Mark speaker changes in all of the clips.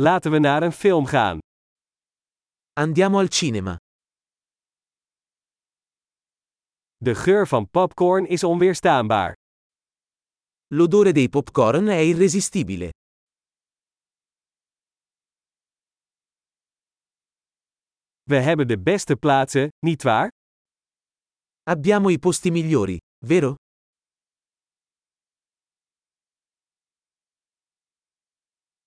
Speaker 1: Laten we naar een film gaan.
Speaker 2: Andiamo al cinema.
Speaker 1: De geur van popcorn is onweerstaanbaar.
Speaker 2: L'odore dei popcorn è irresistibile.
Speaker 1: We hebben de beste plaatsen, nietwaar?
Speaker 2: Abbiamo i posti migliori, vero?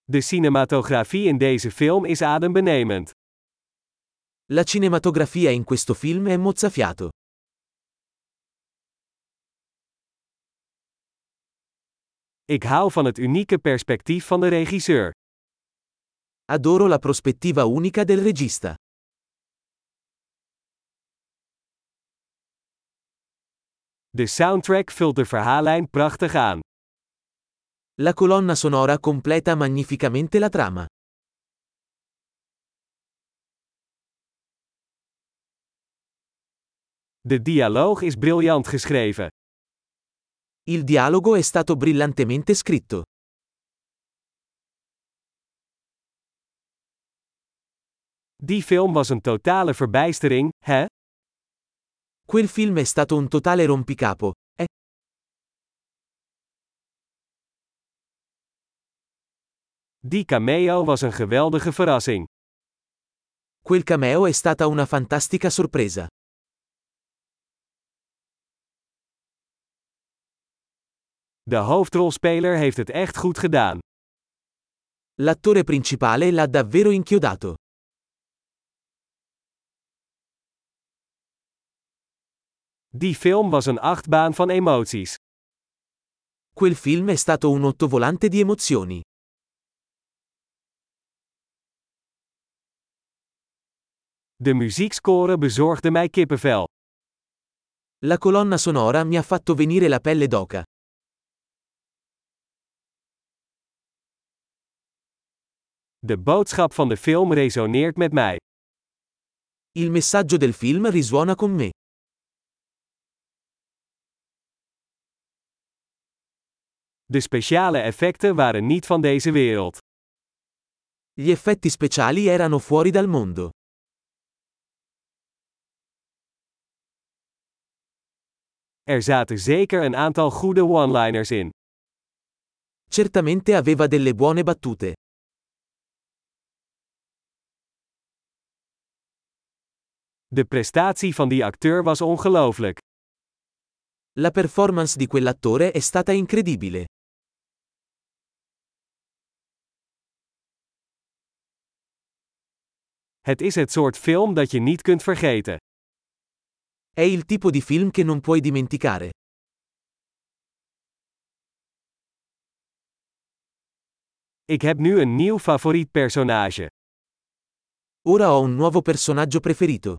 Speaker 1: De cinematografie in deze film is adembenemend.
Speaker 2: La cinematografia in questo film è mozzafiato.
Speaker 1: Ik hou van het unieke perspectief van de regisseur.
Speaker 2: Adoro la prospettiva unica del regista.
Speaker 1: De soundtrack vult de verhaallijn prachtig aan.
Speaker 2: La colonna sonora completa magnificamente la trama.
Speaker 1: De dialoog is briljant geschreven.
Speaker 2: Il dialogo è stato brillantemente scritto.
Speaker 1: Die film was een totale verbijstering, hè?
Speaker 2: Quel film è stato un totale rompicapo, eh?
Speaker 1: Die cameo was een geweldige verrassing.
Speaker 2: Quel cameo è stata una fantastica sorpresa.
Speaker 1: De hoofdrolspeler heeft het echt goed gedaan.
Speaker 2: L'attore principale l'ha davvero inchiodato.
Speaker 1: Die film was een achtbaan van emoties.
Speaker 2: Quel film è stato un ottovolante di emozioni.
Speaker 1: De muziekscore bezorgde mij kippenvel.
Speaker 2: La colonna sonora mi ha fatto venire la pelle d'oca.
Speaker 1: De boodschap van de film resoneert met mij.
Speaker 2: Il messaggio del film risuona con me.
Speaker 1: De speciale effecten waren niet van deze wereld.
Speaker 2: Gli effetti speciali erano fuori dal mondo.
Speaker 1: Er zaten zeker een aantal goede one-liners in.
Speaker 2: Certamente aveva delle buone battute.
Speaker 1: De prestatie van die acteur was ongelooflijk.
Speaker 2: La performance di quell'attore è stata incredibile.
Speaker 1: Het is het soort film dat je niet kunt vergeten.
Speaker 2: È il tipo di film che non puoi dimenticare.
Speaker 1: Ik heb nu een nieuw favoriet personage.
Speaker 2: Ora ho un nuovo personaggio preferito.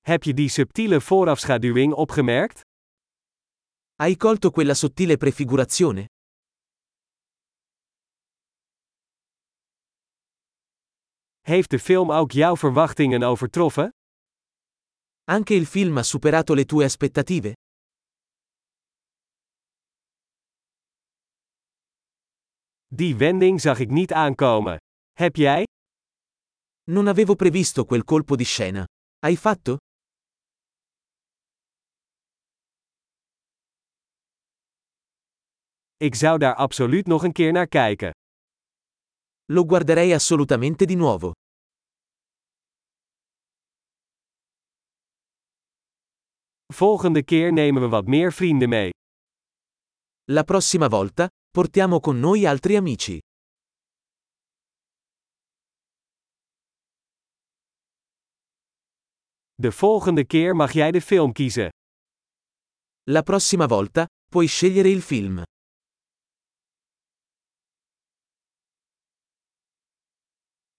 Speaker 1: Heb je die subtiele voorafschaduwing opgemerkt?
Speaker 2: Hai colto quella sottile prefigurazione?
Speaker 1: Heeft de film ook jouw verwachtingen overtroffen?
Speaker 2: Anche il film ha superato le tue aspettative?
Speaker 1: Die wending zag ik niet aankomen. Heb jij?
Speaker 2: Non avevo previsto quel colpo di scena. Hai fatto?
Speaker 1: Ik zou daar absoluut nog een keer naar kijken.
Speaker 2: Lo guarderei assolutamente di nuovo.
Speaker 1: Volgende keer nemen we wat meer vrienden mee.
Speaker 2: La prossima volta, portiamo con noi altri amici.
Speaker 1: De volgende keer mag jij de film kiezen.
Speaker 2: La prossima volta, puoi scegliere il film.